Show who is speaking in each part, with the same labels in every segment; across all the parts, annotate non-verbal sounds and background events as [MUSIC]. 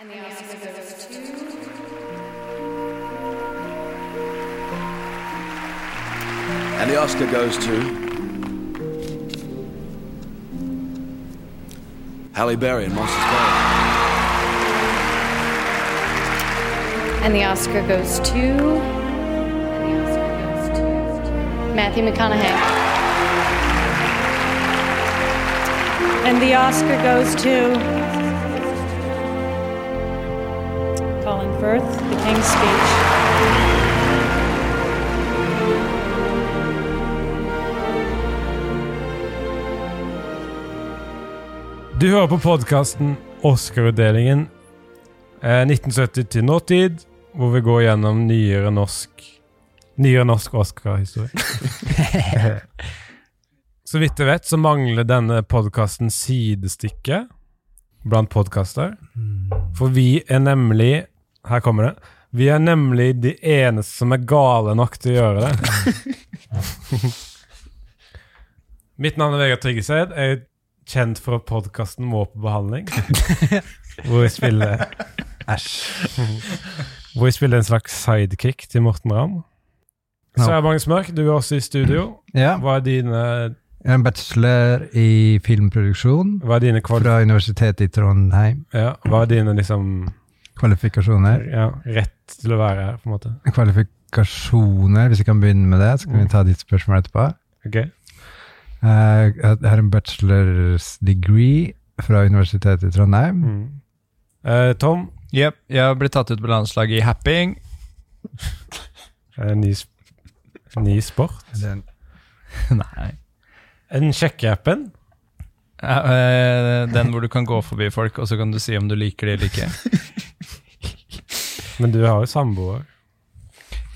Speaker 1: And the Oscar goes to...
Speaker 2: And the Oscar goes to. Halle Berry and Monsters Ball.
Speaker 1: And the Oscar goes to... And the Oscar goes to... Matthew McConaughey.
Speaker 3: And the Oscar goes to Colin Firth, The King's Speech.
Speaker 4: Du hører på podkasten Oscar-utdelingen eh, 1970 til nåtid, hvor vi går gjennom nyere norsk Nyere norsk Oscar-historie. så vidt jeg vet, så mangler denne podkasten sidestykke blant podkaster. For vi er nemlig Her kommer det. Vi er nemlig de eneste som er gale nok til å gjøre det. Mitt navn er Vegard Tryggeseid. Jeg er kjent fra podkasten Må på behandling. [LAUGHS] hvor jeg spiller Æsj. hvor jeg spiller en slags sidekick til Morten Ramm. Så er Magnus Mørk, du er også i studio.
Speaker 5: Ja,
Speaker 4: Hva er dine,
Speaker 5: jeg er en bachelor i filmproduksjon
Speaker 4: hva er dine, kval
Speaker 5: fra Universitetet i Trondheim.
Speaker 4: ja, hva er dine liksom,
Speaker 5: Kvalifikasjoner.
Speaker 4: ja, rett til å være her, på en måte?
Speaker 5: Kvalifikasjoner, hvis vi kan begynne med det, så kan vi ta ditt spørsmål etterpå.
Speaker 4: Ok.
Speaker 5: Eh, Jeg har en bachelor's degree fra Universitetet i Trondheim.
Speaker 4: Mm. Eh, Tom,
Speaker 6: Jepp. Jeg har blitt tatt ut på landslaget i happing.
Speaker 4: eh, ny, sp- ny sport.
Speaker 5: Den-
Speaker 6: [LAUGHS] Nei.
Speaker 4: En sjekkeappen.
Speaker 6: eh, Den hvor du kan gå forbi folk, og så kan du si om du liker det eller ikke.
Speaker 4: Men du har jo samboer.
Speaker 6: [LAUGHS]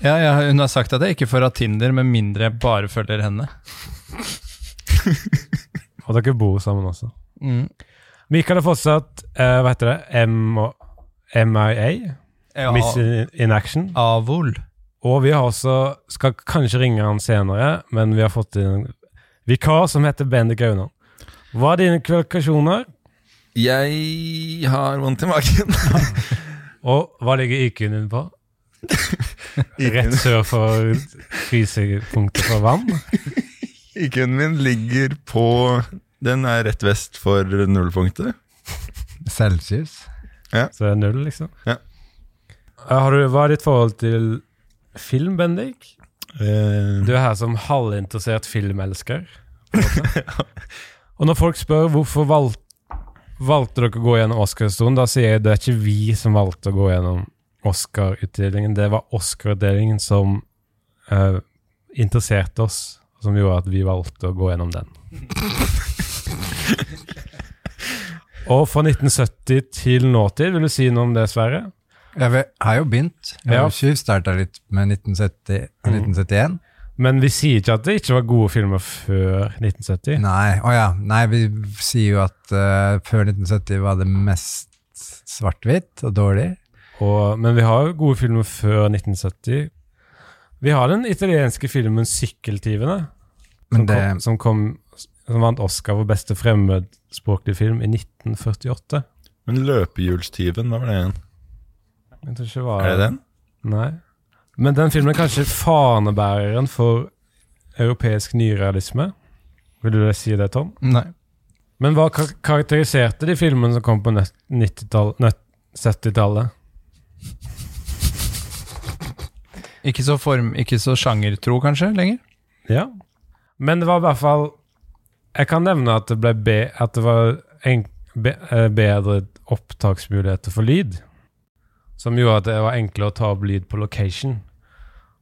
Speaker 6: Ja, jeg, har- Hun har sagt at jeg ikke får ha Tinder med mindre jeg bare følger henne.
Speaker 4: Og dere bor sammen også.
Speaker 6: Mm.
Speaker 4: Mikael er fortsatt eh, hva heter det, M og MIA,
Speaker 6: Ja,
Speaker 4: Miss in, in Action.
Speaker 6: Avol.
Speaker 4: Og vi har også, skal kanskje ringe han senere, men vi har fått inn en vikar som heter Bendik Aunan. Hva er dine kvalifikasjoner,
Speaker 7: Jeg har vondt i magen. [LAUGHS]
Speaker 4: og hva ligger IQ-en din på? Rett sør for frysepunktet for vann?
Speaker 7: IQ-en min ligger på Den er rett vest for nullpunktet.
Speaker 5: Celsius.
Speaker 4: Så det er null, liksom.
Speaker 7: Ja.
Speaker 4: Eh, Har du, hva er ditt forhold til film, Bendik?
Speaker 7: Eh,
Speaker 4: Du er her som halvinteressert filmelsker. [LAUGHS] på en måte. Og når folk spør hvorfor valg, valgte dere å gå gjennom Oscar-historien, da sier jeg det er ikke vi som valgte å gå gjennom Oscar-utdelingen. Det var Oscar-utdelingen som eh, interesserte oss, som gjorde at vi valgte å gå gjennom den. Og fra 1970 til nåtid, vil du si noe om det, Sverre?
Speaker 5: Jeg vet- har jo begynt. Jeg
Speaker 4: Ja.
Speaker 5: har tjuvstarta litt med 1970
Speaker 6: Mm.
Speaker 5: og 1971.
Speaker 4: Men vi sier ikke at det ikke var gode filmer før 1970.
Speaker 5: Nei, å ja. Nei, vi sier jo at eh, før 1970 var det mest svart-hvitt og dårlig.
Speaker 4: Og, men vi har jo gode filmer før 1970. Vi har den italienske filmen 'Sykkeltyvene',
Speaker 5: Men
Speaker 4: som,
Speaker 5: det,
Speaker 4: kom, som, kom, som vant Oscar for beste fremmedspråklige film i 1948.
Speaker 7: men Løpehjulstyven, hva var det igjen?
Speaker 4: Jeg tror ikke var
Speaker 7: Er det den?
Speaker 4: Nei. Men den filmen er kanskje fanebæreren for europeisk nyrealisme. Vil du si det, Tom?
Speaker 6: Nei.
Speaker 4: Men hva kar karakteriserte de filmene som kom på nøtt- 90-tall- nøtt- 70-tallet?
Speaker 6: Ikke så, form, ikke så sjangertro, kanskje, lenger?
Speaker 4: Ja. Men det var i hvert fall Jeg kan nevne at det ble be, at det var en, be, eh, bedre opptaksmuligheter for lyd. Som gjorde at det var enklere å ta opp lyd på location.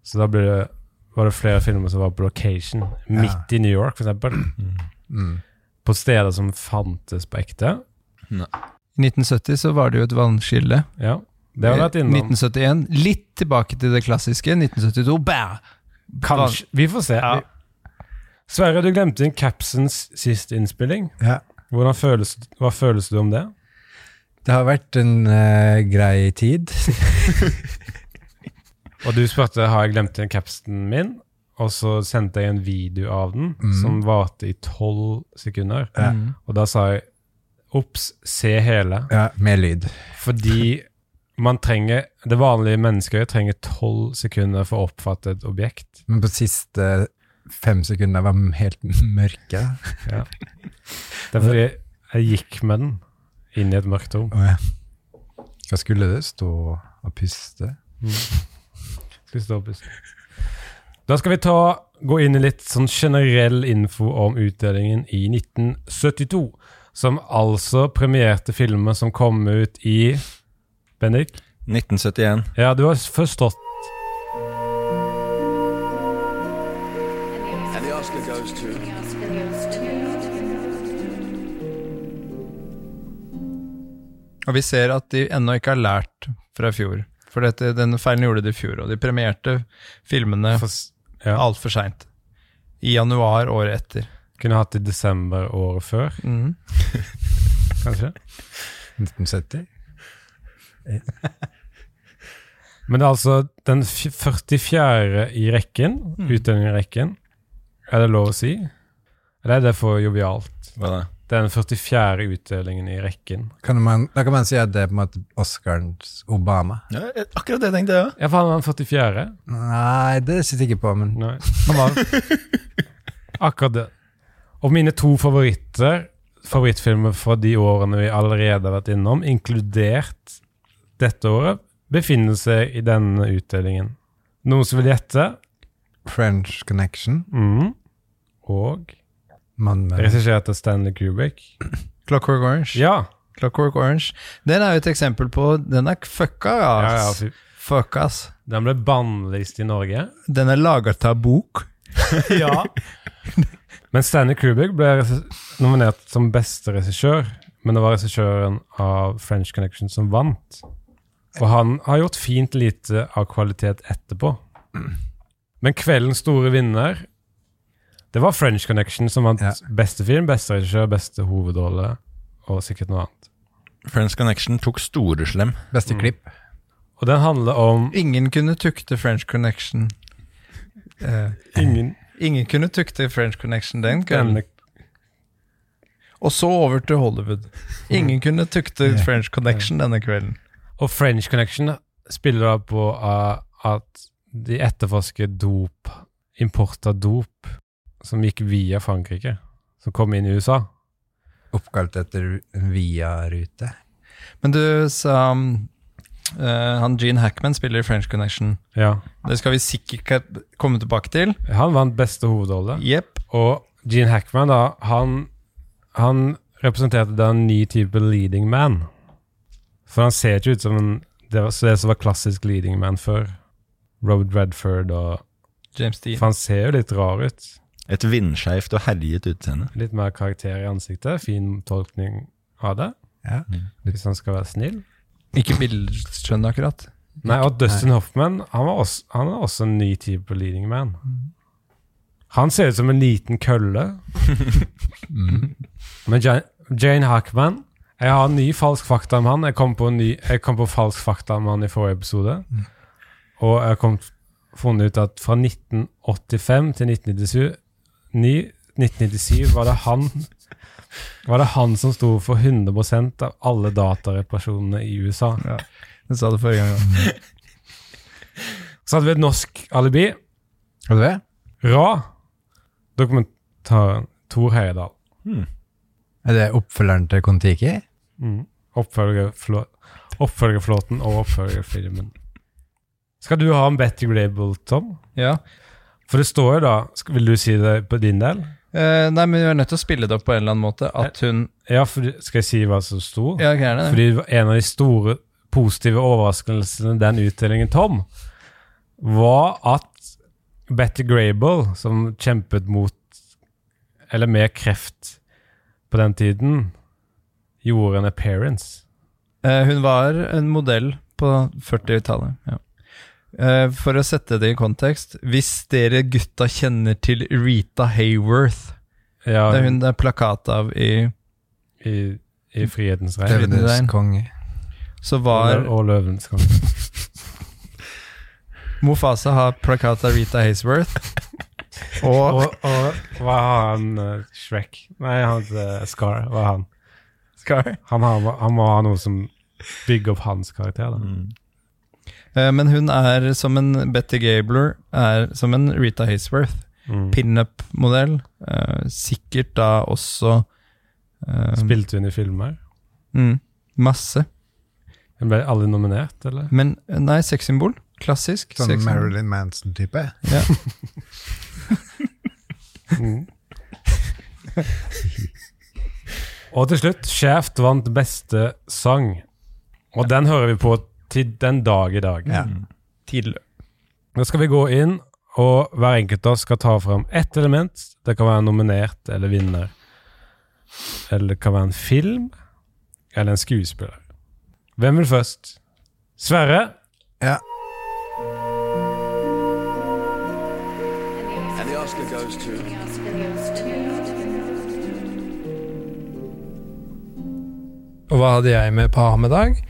Speaker 4: Så da ble det, var det flere filmer som var på location. Midt i New York, for eksempel. På steder som fantes på ekte.
Speaker 6: I 1970 så var det jo et vannskille.
Speaker 4: Ja, det har vi vært innom.
Speaker 6: 1971. Litt tilbake til det klassiske. 1972, bæ!
Speaker 4: Kanskje. Vi får se.
Speaker 6: Ja.
Speaker 4: Sverre, du glemte en capsens siste innspilling.
Speaker 5: ja.
Speaker 4: Hvordan føles, hva føles du om det?
Speaker 5: det har vært en eh, grei
Speaker 4: [LAUGHS]
Speaker 5: tid.
Speaker 4: Og du spurte har jeg glemt igjen capsen min, og så sendte jeg en video av den som varte i tolv sekunder. Og da sa jeg Ops, se hele.
Speaker 5: Ja, med lyd.
Speaker 4: Fordi man trenger Det vanlige menneskeøyet trenger tolv sekunder for å oppfatte et objekt.
Speaker 5: Men på siste fem sekunder var de helt mørke.
Speaker 4: Det er fordi jeg gikk med den inn i et mørkt rom.
Speaker 5: Å ja. Hva skulle du? Stå og puste?
Speaker 4: Skal vi stå opp i sted? Da skal vi ta, gå inn i litt sånn generell info om utdelingen i 1972. Som altså premierte filmer som kom ut i Bendik?
Speaker 7: 1971.
Speaker 4: Ja, du har forstått.
Speaker 2: And the Oscar goes to.
Speaker 6: Og vi ser at de ennå ikke har lært fra i fjor. For dette, denne feilen gjorde de i fjor, og de premierte filmene
Speaker 4: For, s- ja.
Speaker 6: altfor seint. I januar året etter.
Speaker 4: Kunne hatt i desember året før,
Speaker 6: Mhm.
Speaker 4: kanskje.
Speaker 5: 1970?
Speaker 4: Men det er altså den f- 44. i rekken, utdelingen i rekken. Er det lov å si? Eller er det for jovialt?
Speaker 7: Hva da?
Speaker 4: Det er den 44. utdelingen i rekken.
Speaker 5: Kan man, da kan man si at det er på en måte Oscarens Obama.
Speaker 7: Ja, eh, akkurat det tenkte jeg òg.
Speaker 4: Ja, for han var den 44.
Speaker 5: Nei, det sitter jeg ikke på, men
Speaker 4: Nei. Han var akkurat det. Og mine to favoritter, favorittfilmer fra de årene vi allerede har vært innom, inkludert dette året, befinner seg i denne utdelingen. Noen som vil gjette?
Speaker 5: French Connection
Speaker 4: Mm. Og
Speaker 5: mann med,
Speaker 4: regissert av Stanley Kubrick.
Speaker 6: Clockwork Orange.
Speaker 4: Ja.
Speaker 6: Clockwork Orange. Den er jo et eksempel på Den er fucka,
Speaker 4: ja, ja
Speaker 6: ass.
Speaker 4: fy-
Speaker 6: Fuck, ass.
Speaker 4: den ble bannlyst i Norge.
Speaker 6: Den er laget av bok.
Speaker 4: [LAUGHS] ja. Men Stanley Kubrick ble regi- nominert som beste regissør, men det var regissøren av French Connection som vant. Og han har gjort fint lite av kvalitet etterpå. Men kveldens store vinner, det var French Connection som vant
Speaker 5: Ja.
Speaker 4: beste film, beste regissør, beste hovedrolle og sikkert noe annet.
Speaker 7: Friends Connection tok storeslem.
Speaker 5: beste klipp.
Speaker 4: Og den handler om
Speaker 6: Ingen kunne tukte French Connection. Eh,
Speaker 4: ingen
Speaker 6: ingen kunne tukte French Connection den kvelden.
Speaker 4: denne
Speaker 6: Og så over til Hollywood.
Speaker 4: [LAUGHS]
Speaker 6: Ingen kunne tukte French Connection denne kvelden.
Speaker 4: Og French Connection spiller da på uh, at de etterforsker dop, import av dop, som gikk via Frankrike, som kom inn i USA.
Speaker 5: Oppkalt etter Via-rute.
Speaker 6: Men du sa um, eh, han Gene Hackman spiller i French Connection.
Speaker 4: Ja.
Speaker 6: Det skal vi sikkert komme tilbake til.
Speaker 4: Han vant beste hovedrolle.
Speaker 6: Jepp.
Speaker 4: Og Gene Hackman, da, han, han representerte da en ny type leading man. For han ser ikke ut som en, det, var, det som var klassisk leading man før. Robert Redford og
Speaker 6: James Dean.
Speaker 4: For han ser jo litt rar ut.
Speaker 7: Et vindskeivt og herjet utseende.
Speaker 4: Litt mer karakter i ansiktet. Fin tolkning av det.
Speaker 5: Ja.
Speaker 4: Hvis han skal være snill.
Speaker 6: Ikke billedskjønn akkurat.
Speaker 4: Nei, og Dustin Hoffman han, var også, han er også en ny type på leading man. Han ser ut som en liten kølle. Mm. Men Jane, Jane Hackman Jeg har en ny falsk fakta om han. Jeg kom på, en ny, jeg kom på falsk fakta om han i forrige episode. Og jeg kom funnet ut at fra 1985 til 1997, ni, 1997 var det han var det han som sto for 100 av alle datareparasjonene i USA.
Speaker 6: Jeg sa det forrige gang. også.
Speaker 4: Så hadde vi et norsk alibi.
Speaker 5: Har du det?
Speaker 4: Ra. Dokumentaren Tor Heyerdahl.
Speaker 5: Er det oppfølgeren til Kon-Tiki?
Speaker 4: Mm. Oppfølgerflå- Oppfølgerflåten og oppfølgerfilmen. Skal du ha en Betty Grable, Tom?
Speaker 6: Ja.
Speaker 4: For det står jo da sk- Vil du si det på din del?
Speaker 6: Eh, nei, men vi er nødt til å spille det opp på en eller annen måte. At hun
Speaker 4: Ja, for, skal jeg si hva som sto?
Speaker 6: Ja, gjerne det.
Speaker 4: Fordi det var en av de store positive overraskelsene den utdelingen, Tom, var at Betty Grable, som kjempet mot eller med kreft på den tiden, gjorde en appearance.
Speaker 6: Eh, hun var en modell på 40-tallet. Ja. Eh, for å sette det i kontekst Hvis dere gutta kjenner til Rita Hayworth
Speaker 4: Ja,
Speaker 6: Det er hun det er plakat av i
Speaker 4: i, i Frihetens regn.
Speaker 5: Løvenes konge.
Speaker 6: Så var
Speaker 4: Og Løvens konge.
Speaker 6: Mofasa har plakat av Rita Hayworth.
Speaker 4: Og,
Speaker 6: Og
Speaker 4: og eh, hva har han eh, Shrek? Nei, han heter Scar. Hva har han?
Speaker 6: Scar.
Speaker 4: Han, har, han må ha noe som bygger opp hans karakter. Da.
Speaker 6: Eh, Men hun er som en Betty Gabler, er som en Rita Haysworth.
Speaker 4: Mm.
Speaker 6: Pinup-modell. eh, sikkert da også eh,
Speaker 4: Spilte hun i filmer?
Speaker 6: Mm, masse.
Speaker 4: Hun ble aldri nominert, eller?
Speaker 6: [LAUGHS] Men eh, nei, sexsymbol. Klassisk.
Speaker 5: Sånn
Speaker 6: sexsymbol.
Speaker 5: Marilyn Manson-type.
Speaker 4: Mm. Og til slutt, Skjævt vant beste sang. Og den hører vi på til den dag i dag.
Speaker 5: Ja.
Speaker 6: Tidlø-
Speaker 4: Nå skal vi gå inn, og hver enkelt av oss skal ta fram ett element. Det kan være nominert eller vinner. Eller det kan være en film eller en skuespiller. Hvem vil først? Sverre?
Speaker 5: Ja.
Speaker 2: And the Oscar goes to.
Speaker 8: Og hva hadde jeg med på Hamedag?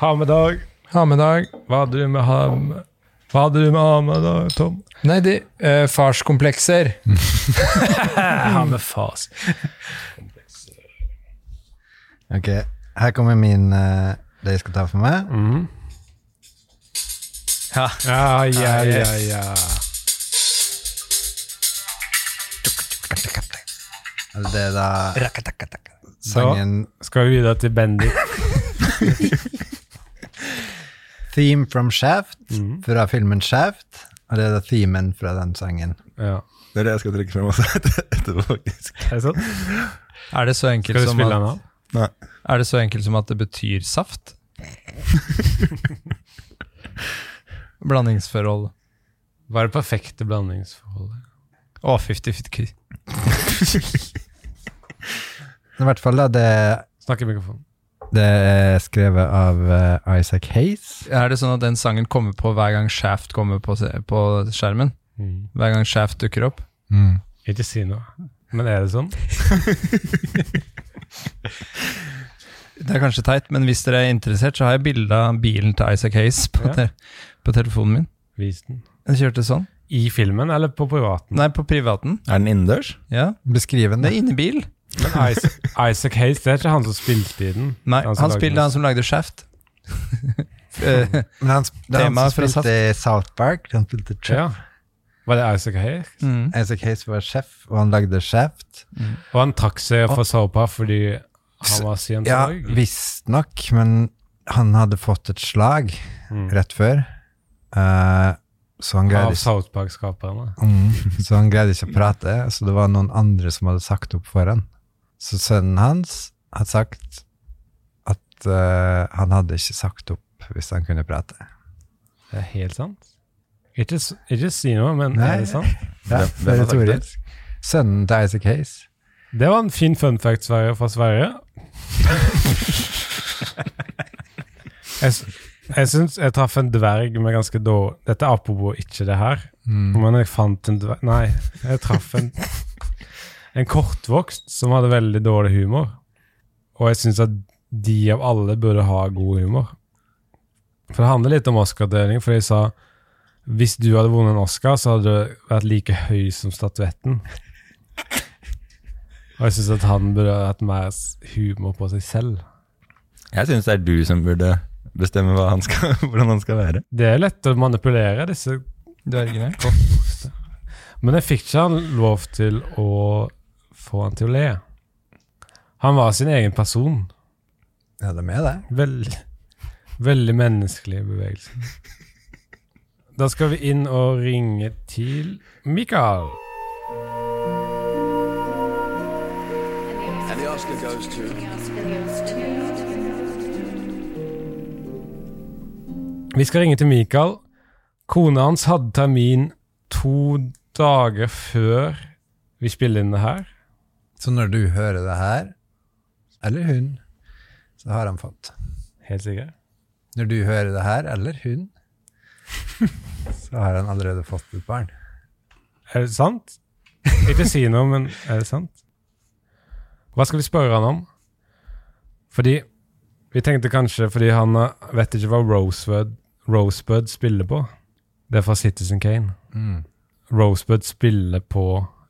Speaker 4: Hamedag.
Speaker 8: Hamedag
Speaker 4: Hva hadde du med ham... Hva hadde du med Hamedag, Tom?
Speaker 8: Nei, de eh, farskomplekser.
Speaker 4: [LAUGHS] Jeg har med fars.
Speaker 5: Ok, her kommer min eh, Det jeg skal ta for meg.
Speaker 4: Ja, ja, ja, ja.
Speaker 5: Eller det er da Sangen
Speaker 4: Skal vi videre til Bendik?
Speaker 5: Theme from Shaft, fra filmen Shaft. Og det er da themen fra den sangen.
Speaker 4: Ja.
Speaker 7: Det er det jeg skal trekke frem også [LAUGHS] etterpå, faktisk.
Speaker 4: Er det sant?
Speaker 6: Er det så
Speaker 4: Skal
Speaker 6: enkelt
Speaker 4: du
Speaker 6: som
Speaker 4: spille den av?
Speaker 6: at
Speaker 7: Nei.
Speaker 6: Er det så enkelt som at det betyr saft?
Speaker 4: [LAUGHS]
Speaker 6: Blandingsforhold.
Speaker 4: Hva er det perfekte blandingsforholdet?
Speaker 6: Å, 50-50.
Speaker 5: Men I hvert fall da, det,
Speaker 4: Snakk i mikrofonen.
Speaker 5: det er skrevet av eh, Isaac Hayes.
Speaker 6: Er det sånn at den sangen kommer på hver gang Shaft kommer på, se- på skjermen?
Speaker 4: Mm.
Speaker 6: Hver gang Shaft dukker opp?
Speaker 4: Ikke si noe. Men er det sånn?
Speaker 6: Det er kanskje teit, men hvis dere er interessert, så har jeg bilde av bilen til Isaac Hayes på,
Speaker 4: Ja.
Speaker 6: te på telefonen min.
Speaker 4: Vis den.
Speaker 6: Den kjørte sånn.
Speaker 4: I filmen eller på [LAUGHS] privaten?
Speaker 6: Nei, på privaten.
Speaker 7: Er den innendørs?
Speaker 6: Ja,
Speaker 5: Beskrivende.
Speaker 6: det er inni bil.
Speaker 4: Men Isaac, Isaac Hayes, det er ikke han som spilte i den?
Speaker 6: Nei,
Speaker 4: Han
Speaker 6: han,
Speaker 4: som lagde den.
Speaker 6: spiller han som lagde Shaft. Eh,
Speaker 5: Men han, sp- det er han som
Speaker 6: Temaet fra
Speaker 5: spilte i South Park. Han spilte Chef.
Speaker 4: Ja. Var det Isaac Hayes?
Speaker 6: mm.
Speaker 5: Isaac Hayes var sjef, og han lagde Shaft.
Speaker 4: Og han trakk seg fra Sopa fordi han
Speaker 5: Ja,
Speaker 4: var scientolog?
Speaker 5: visstnok, men han hadde fått et slag
Speaker 4: Mm.
Speaker 5: rett før. Eh, så, han
Speaker 4: Av
Speaker 5: greide, ikke-
Speaker 4: South Park-skaperne?
Speaker 5: mm, så han greide ikke å prate, så det var noen andre som hadde sagt opp for han. Så sønnen hans hadde sagt at eh, han hadde ikke sagt opp hvis han kunne prate.
Speaker 4: Det er helt sant? Ikke, s- ikke si noe, men
Speaker 5: Nei.
Speaker 4: er det sant?
Speaker 5: Ja,
Speaker 7: Hvem- hvem
Speaker 5: det er
Speaker 7: har sagt
Speaker 5: Toril. Sønnen til Isaac Hayes.
Speaker 4: Det var en fin fun fact Sverre, fra Sverige. Jeg, s- jeg syns jeg traff en dverg med ganske dårlig Dette er apropos ikke det her. Men jeg fant en dverg Nei, jeg traff en, en kortvokst som hadde veldig dårlig humor. Og jeg syns at de av alle burde ha god humor. For det handler litt om Oscar-deling, for de sa hvis du hadde vunnet en Oscar, så hadde du vært like høy som statuetten. Og jeg syns at han burde hatt mer s- humor på seg selv.
Speaker 7: Jeg syns det er du som burde bestemme hva han skal, [LAUGHS] hvordan han skal være.
Speaker 4: Det er lett å manipulere disse
Speaker 6: Dvergene.
Speaker 4: kortvokste. Men jeg fikk ikke han lov til å få han til å le. Han var sin egen person.
Speaker 5: Ja, de er det.
Speaker 4: Veldig, veldig menneskelig bevegelse. Da skal vi inn og ringe til Mikael.
Speaker 2: And the Oscar goes to.
Speaker 4: Vi skal ringe til Mikael. Kona hans hadde termin to dager før vi spiller inn det her.
Speaker 5: Så når du hører det her, eller hun, så har han fått.
Speaker 4: Helt sikkert.
Speaker 5: Når du hører det her, eller [LAUGHS] hun, så har han allerede fått et barn.
Speaker 4: Er det sant? Ikke si noe, men er det sant? Hva skal vi spørre han om? Fordi vi tenkte kanskje fordi han eh, vet ikke hva Rosebud, Rosebud spiller på. Det er fra Citizen Kane. Rosebud spiller på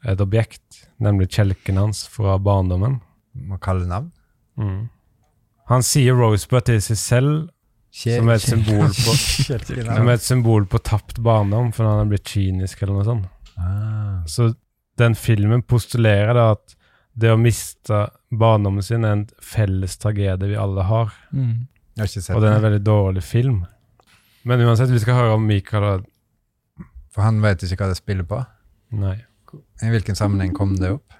Speaker 4: et objekt, nemlig kjelken hans fra barndommen.
Speaker 5: Må kalle navn.
Speaker 4: Mm. Han sier Rosebud til seg selv Som et symbol på-
Speaker 5: [LAUGHS]
Speaker 4: som et symbol på tapt barndom, for han er blitt kynisk eller noe sånt.
Speaker 5: Ah.
Speaker 4: Så den filmen postulerer da at det å miste barndommen sin er en felles tragedie vi alle har,
Speaker 6: Mm.
Speaker 5: Jeg har ikke sett
Speaker 4: og den er en
Speaker 5: den.
Speaker 4: veldig dårlig film. Men uansett, vi skal høre om Mikael og
Speaker 5: For han vet ikke hva det spiller på.
Speaker 4: Nei,
Speaker 5: I hvilken sammenheng kom det opp?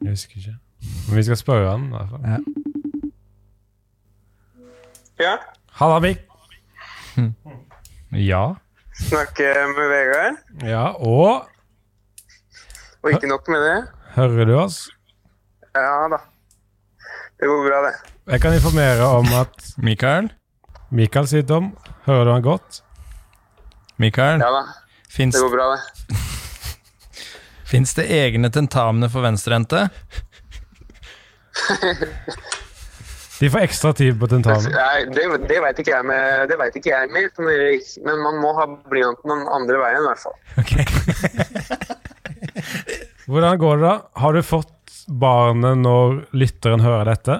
Speaker 4: jeg husker ikke. Men vi skal spørre han i hvert fall.
Speaker 9: Ja,
Speaker 4: Halla, Mik!
Speaker 6: Ja.
Speaker 9: snakker med Vegard.
Speaker 4: Ja, og
Speaker 9: Og ikke nok med det.
Speaker 4: hører du oss?
Speaker 9: Ja da. Det går bra, det.
Speaker 4: Jeg kan informere om at
Speaker 6: Mikael?
Speaker 4: Mikael sier om. Hører du han godt?
Speaker 6: Mikael?
Speaker 9: Ja da.
Speaker 6: Fins
Speaker 9: Det går bra, det.
Speaker 6: fins det egne tentamener for venstrehendte?
Speaker 4: De får ekstra tid på tentamen.
Speaker 9: Nei, det, det veit ikke jeg med, det vet ikke jeg med, sånn Erik. men man må ha blyanten den andre veien, i hvert fall.
Speaker 6: Ok.
Speaker 4: Hvordan går det da? Har du fått barnet når lytteren hører dette?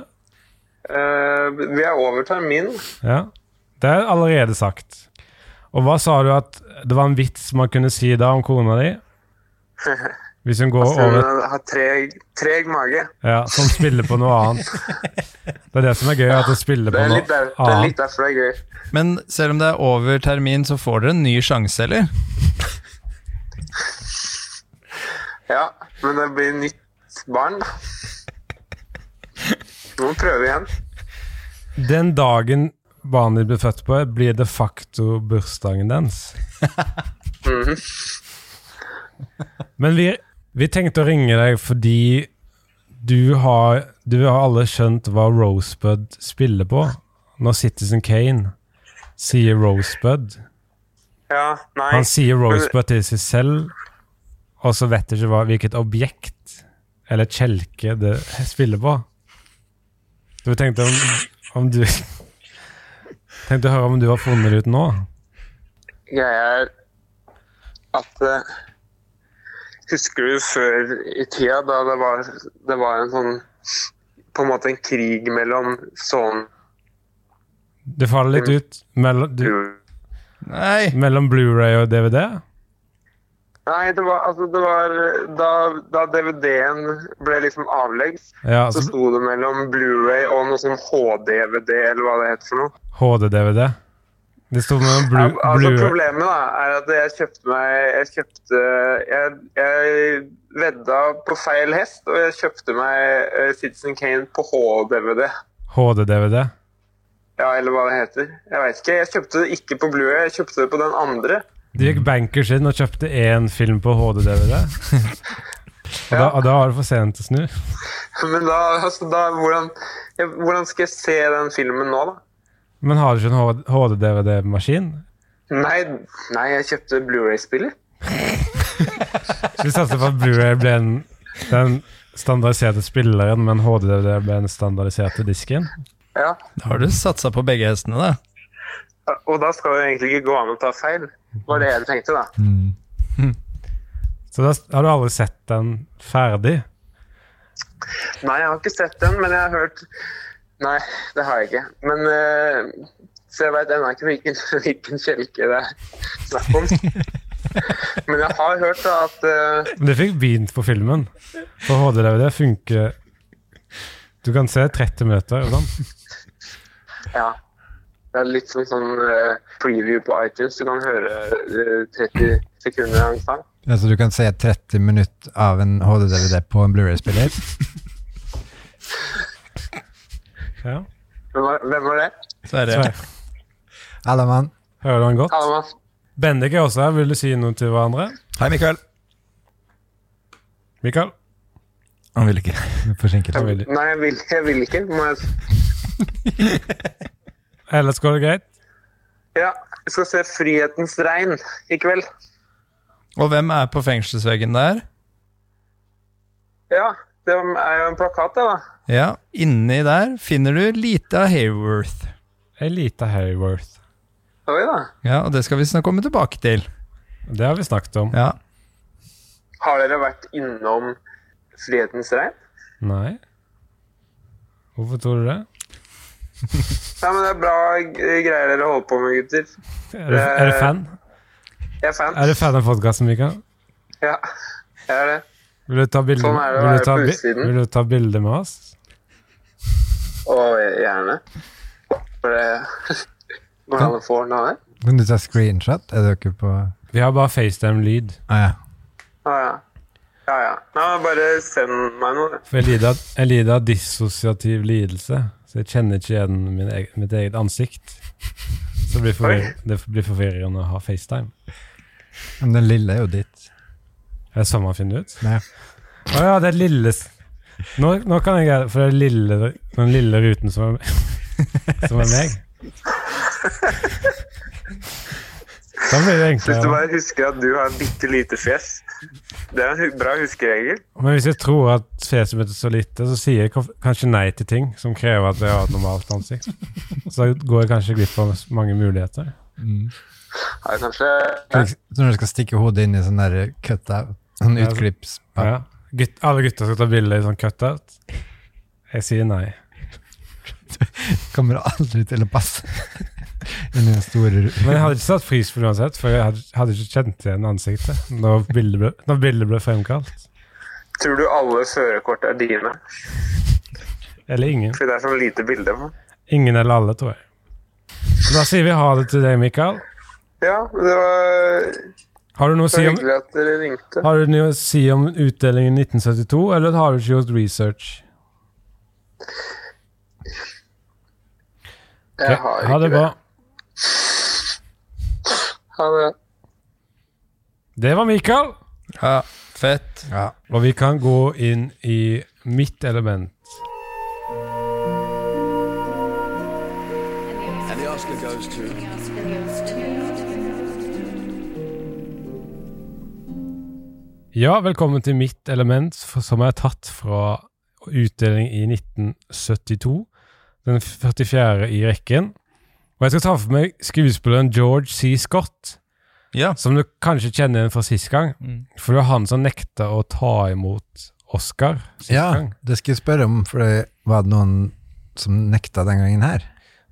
Speaker 9: Eh, jeg overtar min.
Speaker 4: Ja. Det er allerede sagt. Og hva sa du at det var en vits man kunne si da om kona
Speaker 9: [LAUGHS]
Speaker 4: di? Hvis hun går
Speaker 9: Så
Speaker 4: over
Speaker 9: hun har treg, treg mage.
Speaker 4: Ja, som spiller på noe annet. Det er det som er gøy, at det spiller på
Speaker 9: Det er
Speaker 4: noe
Speaker 9: litt, der, det er
Speaker 4: annet.
Speaker 9: litt derfor det er gøy.
Speaker 6: Men selv om det er over termin, så får dere en ny sjanse, eller?
Speaker 9: Ja, men det blir nytt barn,
Speaker 4: [LAUGHS]
Speaker 9: da. Nå må vi prøve igjen.
Speaker 4: Den dagen barnet ditt blir født på, blir de facto bursdagen dens. Men vi, vi tenkte å ringe deg fordi du har, du har alle skjønt hva Rosebud spiller på. Når Citizen Kane sier Rosebud.
Speaker 9: Ja, nei.
Speaker 4: Han sier Rosebud til seg selv, og så vet du ikke hva, hvilket objekt eller kjelke det spiller på. Så vi tenkte om, om du Tenkte å høre om du har funnet det ut nå.
Speaker 9: greia er at eh, Husker du før i tida da det var, det var en sånn På en måte en krig mellom sånn
Speaker 4: Det faller litt ut mellom, du,
Speaker 9: Nei,
Speaker 6: Nei.
Speaker 4: mellom Blu-ray og DVD.
Speaker 9: det var, altså, det var da, da DVD-en ble liksom avlegg,
Speaker 4: Ja,
Speaker 9: så
Speaker 4: altså
Speaker 9: sto det mellom Blu-ray og noe sånn HD-VD, eller hva det heter for noe.
Speaker 4: HD-DVD. Det sto mellom
Speaker 9: Ja,
Speaker 4: Blu-
Speaker 9: altså,
Speaker 4: Blu-ray
Speaker 9: problemet da, er at jeg kjøpte meg Jeg kjøpte jeg, jeg vedda på feil hest, og jeg kjøpte meg eh, Citizen Kane på HD-DVD.
Speaker 4: HD-DVD.
Speaker 9: Ja, eller hva det heter. Jeg veit ikke. Jeg kjøpte det ikke på Bluey, jeg kjøpte det på den andre. [LAUGHS]
Speaker 4: Du gikk bankers inn og kjøpte én film på
Speaker 9: [LAUGHS]
Speaker 4: HD-DVD. Og, da- og da var det for sent å snu.
Speaker 9: Men da, altså, da hvordan, jeg, hvordan skal jeg se den filmen nå, da?
Speaker 4: Men har du ikke en HD-DVD-maskin?
Speaker 9: Nei, nei jeg kjøpte Bluey-spiller.
Speaker 4: Så vi satser på at Blu-ray ble en, den standardiserte spilleren, men HD-DVD ble den standardiserte disken.
Speaker 9: Ja.
Speaker 6: Da har du satsa på begge hestene, da.
Speaker 9: Og da skal det egentlig ikke gå an å ta feil. Var det jeg tenkte, da.
Speaker 4: Så da s- har du aldri sett den ferdig.
Speaker 9: Nei, jeg har ikke sett den, men jeg har hørt Nei, det har jeg ikke. Men eh, Så jeg veit ennå ikke hvilken, [LAUGHS] hvilken kjelke det er snakk om. Men jeg har hørt da at eh,
Speaker 4: Men det fikk begynt på filmen. For HD-DVD funker Du kan se 30 minutter. og Sånn.
Speaker 9: Ja. Det er litt som sånn eh, preview på iTunes. Du kan høre eh, 30 sekunder av en sang.
Speaker 5: Altså, du kan se 30 minutter av en HD-DVD på en [LAUGHS] Blu-ray-spiller?
Speaker 4: Ja.
Speaker 9: Hvem var, hvem var det?
Speaker 6: Sverre.
Speaker 5: Alle mann.
Speaker 4: Hører du den godt?
Speaker 9: Hallo, Mads.
Speaker 4: Bendik er også her. Vil du si noe til hverandre?
Speaker 7: Hei, Mikael.
Speaker 4: Mikael?
Speaker 7: Han vil ikke. [LAUGHS]
Speaker 5: Forsinket.
Speaker 4: Hva vil du?
Speaker 9: Nei, jeg vil, jeg vil ikke. Må jeg,
Speaker 4: Ellers går det greit?
Speaker 9: ja, jeg skal se 'Frihetens regn' i kveld.
Speaker 6: Og hvem er på fengselsveggen der?
Speaker 9: Ja, det er jo en plakat, det, da.
Speaker 6: Ja, inni der finner du lite av Hayworth.
Speaker 4: Ei lita Hayworth.
Speaker 9: Oi da.
Speaker 6: Ja, og det skal vi snart komme tilbake til.
Speaker 4: Det har vi snakket om.
Speaker 6: Ja.
Speaker 9: Har dere vært innom 'Frihetens regn'?
Speaker 4: Nei. Hvorfor tror du det?
Speaker 9: Ja, men det er bra eh, greier dere holder på med, gutter.
Speaker 4: Er du, er du fan?
Speaker 9: Jeg er fan.
Speaker 4: Er du fan av podkasten, Mikael?
Speaker 9: Ja, jeg er det.
Speaker 4: Vil du ta bilde
Speaker 9: Sånn er det
Speaker 4: vil
Speaker 9: å
Speaker 4: du
Speaker 9: være
Speaker 4: ta
Speaker 9: på
Speaker 4: bi-
Speaker 9: utsiden.
Speaker 4: vil du ta bilde med oss?
Speaker 9: Og gjerne. For det [LAUGHS] Må alle få ordna det?
Speaker 5: Kan du ta screenshot? Er du ikke på
Speaker 4: Vi har bare FaceTime-lyd.
Speaker 5: ah, ja.
Speaker 9: Ja, ja. Ja, ja. Nei, men bare send meg noe.
Speaker 4: For jeg lider, av- jeg lider av dissosiativ lidelse, så jeg kjenner ikke igjen min, eg- mitt eget ansikt. Så det blir, forvirr, det blir forvirrende å ha FaceTime.
Speaker 5: Men den lille er jo ditt.
Speaker 4: Er det sånn man finner ut?
Speaker 5: Nei.
Speaker 4: Å ja, det er lille s- nå, nå kan jeg greie det, for det er lille, den lille ruten som er, som er
Speaker 9: [LAUGHS]
Speaker 4: meg. Da blir det
Speaker 9: Hvis du
Speaker 4: enklere.
Speaker 9: bare husker at du har bitte lite fjes. Det er en hu- bra huskeregel.
Speaker 4: Men hvis jeg tror at fjeset mitt er så lite, så sier jeg kanf- kanskje nei til ting som krever at jeg har et normalt ansikt. Så går jeg kanskje glipp av s- mange muligheter.
Speaker 9: Ja, kanskje
Speaker 5: Når du skal stikke hodet inn i sånn der cut out, sånn
Speaker 4: Ja.
Speaker 5: utklips.
Speaker 4: Ja. Gutt, alle gutter skal ta bilde i sånn cutout. Jeg sier nei.
Speaker 5: Kommer aldri til å passe [LAUGHS] inn i den store
Speaker 4: Men jeg hadde ikke satt pris på det uansett, for jeg hadde, hadde ikke kjent igjen ansiktet når bildet ble, når bildet ble fremkalt.
Speaker 9: Tror du alle førerkort er dine?
Speaker 4: Eller ingen.
Speaker 9: Fordi det er sånn lite bilde på.
Speaker 4: Ingen eller alle, tror jeg. Da sier vi ha det til deg, Mikael.
Speaker 9: Ja, det var
Speaker 4: Har du noe å
Speaker 9: så
Speaker 4: si om,
Speaker 9: hyggelig at dere ringte.
Speaker 4: har du noe å si om utdelingen i 1972, eller har du ikke gjort research?
Speaker 9: Jeg har
Speaker 4: ha
Speaker 9: ikke
Speaker 4: det bra.
Speaker 9: Ha det.
Speaker 4: Det var Mikael.
Speaker 6: Ja, fett.
Speaker 4: Og vi kan gå inn i mitt element.
Speaker 2: And the Oscar goes to.
Speaker 4: Ja, velkommen til mitt element, f- som er tatt fra utdeling i 1972. Den 44. i rekken. Og jeg skal ta for meg skuespilleren George C. Scott,
Speaker 6: Ja.
Speaker 4: som du kanskje kjenner igjen fra sist gang.
Speaker 6: Mm.
Speaker 4: For det var han som nekta å ta imot Oscar sist
Speaker 5: Ja,
Speaker 4: gang.
Speaker 5: det skal jeg spørre om, for det var det noen som nekta den gangen her.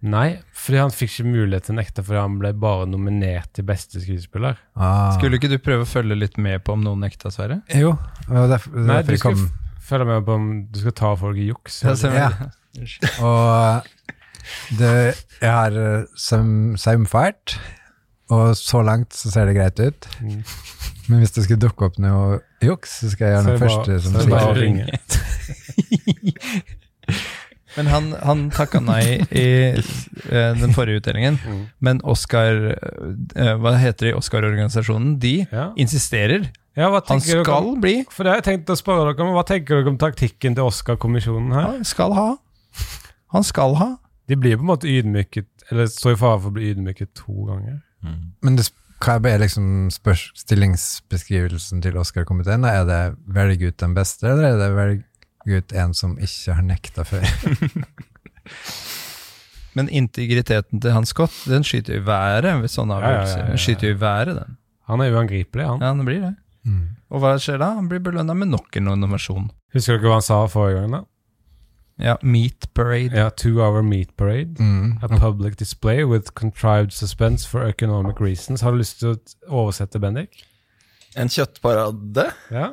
Speaker 4: Nei, fordi han fikk ikke mulighet til å nekte fordi han ble bare nominert til beste skuespiller.
Speaker 5: Ah.
Speaker 6: Skulle ikke du prøve å følge litt med på om noen nekta, Sverre?
Speaker 5: Jo, det var derfor, det var
Speaker 4: Nei,
Speaker 5: derfor
Speaker 4: du
Speaker 5: jeg
Speaker 4: skal
Speaker 5: kom.
Speaker 4: f- følge med på om du skal ta folk i juks.
Speaker 6: Ja, ser
Speaker 5: Ja.
Speaker 6: jeg.
Speaker 5: Og eh, det, jeg har eh, saum- saumfart, og så langt så ser det greit ut.
Speaker 4: Mm.
Speaker 5: Men hvis det skulle dukke opp noe juks, så skal jeg gjøre
Speaker 4: Så er
Speaker 5: den
Speaker 4: det bare-
Speaker 5: første som
Speaker 4: så er det bare å
Speaker 5: sier
Speaker 4: ringe.
Speaker 6: [LAUGHS] Men han, han takka nei i eh, den forrige utdelingen.
Speaker 4: Mm.
Speaker 6: Men Oscar eh, Hva heter de i Oscar-organisasjonen? De
Speaker 4: Ja.
Speaker 6: insisterer.
Speaker 4: Ja, hva
Speaker 6: Han
Speaker 4: tenker dere om-
Speaker 6: skal bli.
Speaker 4: For det har jeg tenkt å spørre dere om. Hva tenker dere om taktikken til Oscar-kommisjonen her?
Speaker 6: Han skal ha. Han skal ha.
Speaker 4: De blir på en måte ydmyket, eller står i fare for å bli ydmyket to ganger.
Speaker 5: Men det, sp- hva er liksom spørs, stillingsbeskrivelsen til Oscar-komiteen? Er det 'velg ut den beste', eller er det 'velg ut en som ikke har nekta før'? [LAUGHS]
Speaker 6: Men integriteten til Hans Scott, den skyter i været ved sånne
Speaker 4: ja, ja,
Speaker 6: avgjørelser.
Speaker 4: ja, ja.
Speaker 6: Den skyter i været, den.
Speaker 4: Han er uangripelig, han.
Speaker 6: Ja, den blir det.
Speaker 4: Mm.
Speaker 6: Og hva skjer da? Han blir belønna med nok en innovasjon.
Speaker 4: Husker dere hva han sa forrige gang? da?
Speaker 6: Ja, Meat Parade.
Speaker 4: Ja, Two hour meat parade.
Speaker 5: Mm.
Speaker 4: A public display with contrived suspense for economic reasons. Har du lyst til å oversette, Bendik?
Speaker 7: En kjøttparade
Speaker 4: Ja.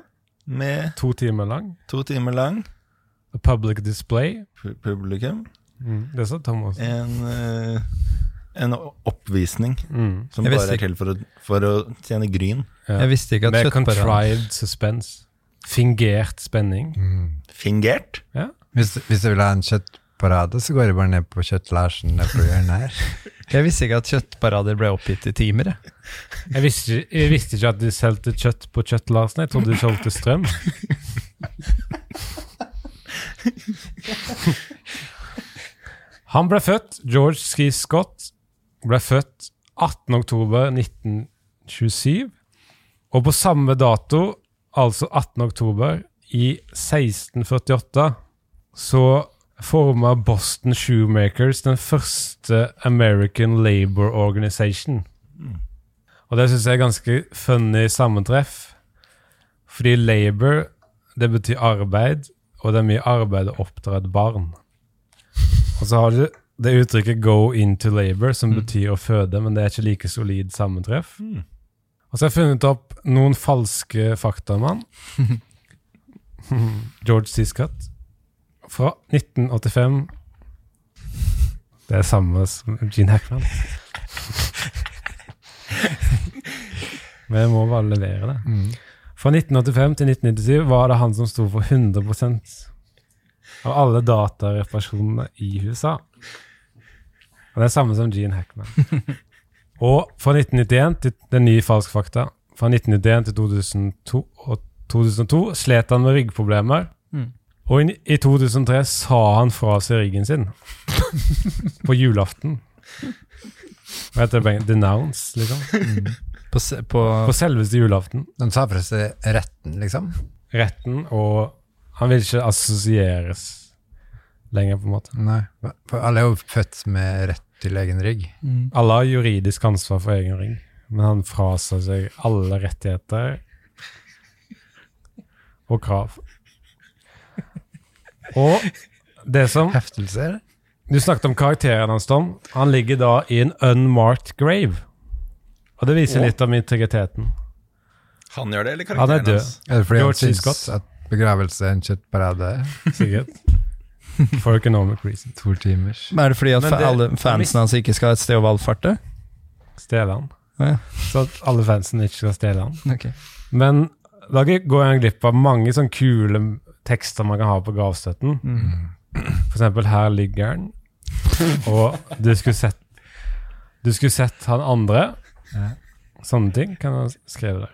Speaker 7: med
Speaker 4: To timer lang.
Speaker 7: to timer lang
Speaker 4: A public display. Mm,
Speaker 7: pu- publikum.
Speaker 4: Det sa Thomas.
Speaker 7: En, eh, en oppvisning
Speaker 4: Mm.
Speaker 7: som
Speaker 6: Jeg
Speaker 7: bare
Speaker 6: visste
Speaker 7: er til for å, for å tjene gryn.
Speaker 4: Ja.
Speaker 6: Jeg visste ikke at
Speaker 4: Med
Speaker 6: kjøttparade
Speaker 4: contrived suspense. Fingert spenning.
Speaker 7: Fingert.
Speaker 5: Hvis, hvis jeg vil ha en kjøttparade, så går jeg bare ned på Kjøtt-Larsen ned på hjørnet her.
Speaker 6: Jeg visste ikke at kjøttparader ble oppgitt i timer. jeg.
Speaker 4: Jeg visste, jeg visste ikke at de solgte kjøtt på Kjøtt-Larsen. Jeg trodde de solgte strøm. Han ble født, George C. Scott, ble født 18. oktober 1927. Og på samme dato, altså 18. oktober, i 1648, så forma Boston Shoemakers den første American Labor Organization. Og det syns jeg er ganske funny sammentreff. Fordi labor, det betyr arbeid, og det er mye arbeid å oppdra et barn. Og så har du det uttrykket 'go into labor', som betyr å føde, men det er ikke like solid sammentreff. Og så har jeg funnet opp noen falske fakta om han. George C. Scott. Fra 1985. Det er samme som Gene Hackman. Men jeg må bare levere det. Fra 1985 til 1997 var det han som sto for 100 av alle datareparasjonene i USA. Og det er samme som Gene Hackman. Og fra 1991 til det er ny falsk fakta. Fra 1991 til 2002, og 2002 slet han med ryggproblemer. Og i, i 2003 sa han fra seg ryggen sin. på julaften. Hva heter det? på engelsk? Denounce, liksom.
Speaker 6: På, se- på,
Speaker 4: På selveste julaften.
Speaker 5: [LAUGHS] De sa fra seg retten, liksom.
Speaker 4: retten, og han vil ikke assosieres lenger, på en måte.
Speaker 5: Nei. For alle er jo født med rett til egen rygg.
Speaker 4: Alle har juridisk ansvar for egen ring, men han frasa seg alle rettigheter og krav. Og det som
Speaker 5: Heftelser?
Speaker 4: Du snakket om karakteren hans, Tom. Han ligger da i en unmarked grave. Og det viser litt om integriteten.
Speaker 7: Han gjør det, eller
Speaker 4: Han er
Speaker 7: karakteren
Speaker 4: død,
Speaker 5: Er det fordi
Speaker 4: George
Speaker 5: han
Speaker 4: C.
Speaker 5: syns
Speaker 4: Scott.
Speaker 5: at begravelse er en kjøttparade?
Speaker 4: sikkert. For economic reason.
Speaker 5: To timers.
Speaker 6: men er det fordi at
Speaker 4: Men
Speaker 6: fa-
Speaker 4: det-
Speaker 6: alle fansen hans ikke skal ha et sted å valfarte?
Speaker 4: Stjele han.
Speaker 6: Ja.
Speaker 4: Så at alle fansen ikke skal stjele han.
Speaker 6: Ok.
Speaker 4: Men da går jeg glipp av mange sånne kule tekster man kan ha på gravstøtten. For eksempel 'Her ligger han', og du skulle sett Du skulle sett han andre. Sånne ting kan han skrive der.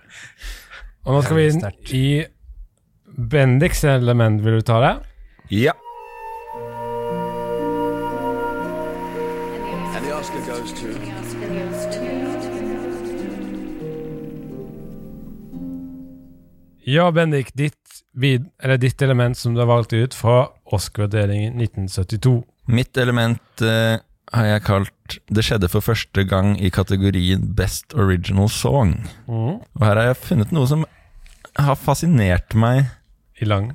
Speaker 4: Og nå skal vi inn i Bendiks element. Vil du ta det?
Speaker 7: Ja.
Speaker 2: And the Oscar goes to.
Speaker 4: Ja, Bendik, ditt, vid, eller ditt element som du har valgt ut fra Oscar-delingen 1972.
Speaker 7: Mitt element eh, har jeg kalt 'Det skjedde for første gang i kategorien Best Original Song'.
Speaker 4: Mhm.
Speaker 7: Og her har jeg funnet noe som har fascinert meg
Speaker 4: I lang.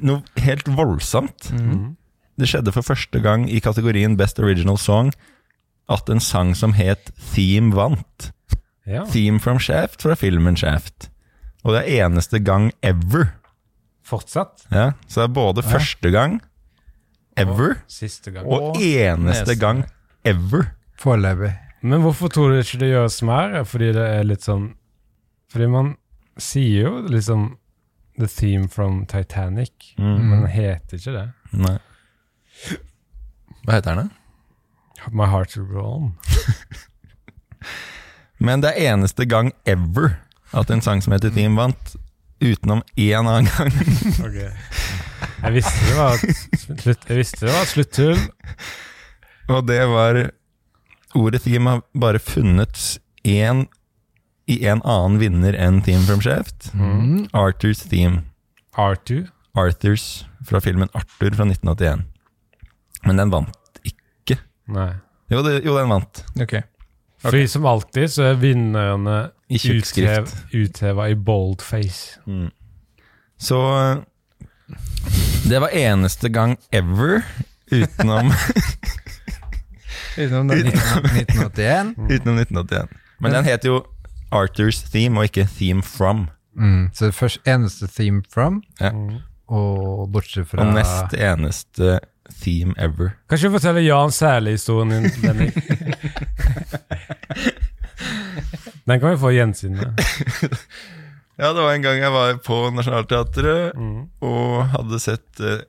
Speaker 7: noe helt voldsomt.
Speaker 4: Mm.
Speaker 7: Det skjedde for første gang i kategorien Best Original Song at en sang som het Theme vant.
Speaker 4: Ja.
Speaker 7: Theme from Shaft fra filmen Shaft. Og det er eneste gang ever.
Speaker 4: Fortsatt.
Speaker 7: Ja, så det er både første gang ever
Speaker 4: Siste gang.
Speaker 7: og eneste
Speaker 6: neste.
Speaker 7: gang ever.
Speaker 5: Foreløpig.
Speaker 4: Men hvorfor tror du ikke det gjøres mer? Fordi det er litt sånn Fordi man sier jo liksom The theme from Titanic, men den heter ikke det.
Speaker 7: Nei. Hva heter den? da?
Speaker 4: My heart will go on.
Speaker 7: Men det er eneste gang ever at en sang som heter Theme vant, utenom én annen gang. [LAUGHS]
Speaker 4: Jeg visste det var et slutt, jeg visste det var et sluttull.
Speaker 7: Og det var Ordet theme har bare funnet én i en annen vinner enn Theme from Shaft. Mm. Arthurs theme.
Speaker 4: R2.
Speaker 7: Arthurs fra filmen Arthur fra 1981. Men den vant ikke.
Speaker 4: Nei.
Speaker 7: Jo, det, jo den vant.
Speaker 6: Ok.
Speaker 4: Fordi som alltid så er vinnerne
Speaker 7: I tjukk skrift.
Speaker 4: utheva i boldface.
Speaker 7: Så eh, det var eneste gang ever [LAUGHS] utenom,
Speaker 6: Utenom den.
Speaker 5: 1981?
Speaker 7: utenom 1981. Men den heter jo Arthurs theme og ikke Theme from.
Speaker 5: Mm. Så det først eneste theme from,
Speaker 7: Ja.
Speaker 5: og bortsett fra
Speaker 7: Og nest eneste theme ever.
Speaker 4: Kan ikke du fortelle Jan Sæle-historien din, Bendik? Den kan vi få gjensyn med.
Speaker 7: Ja, det var en gang jeg var på Nationaltheatret og hadde sett eh,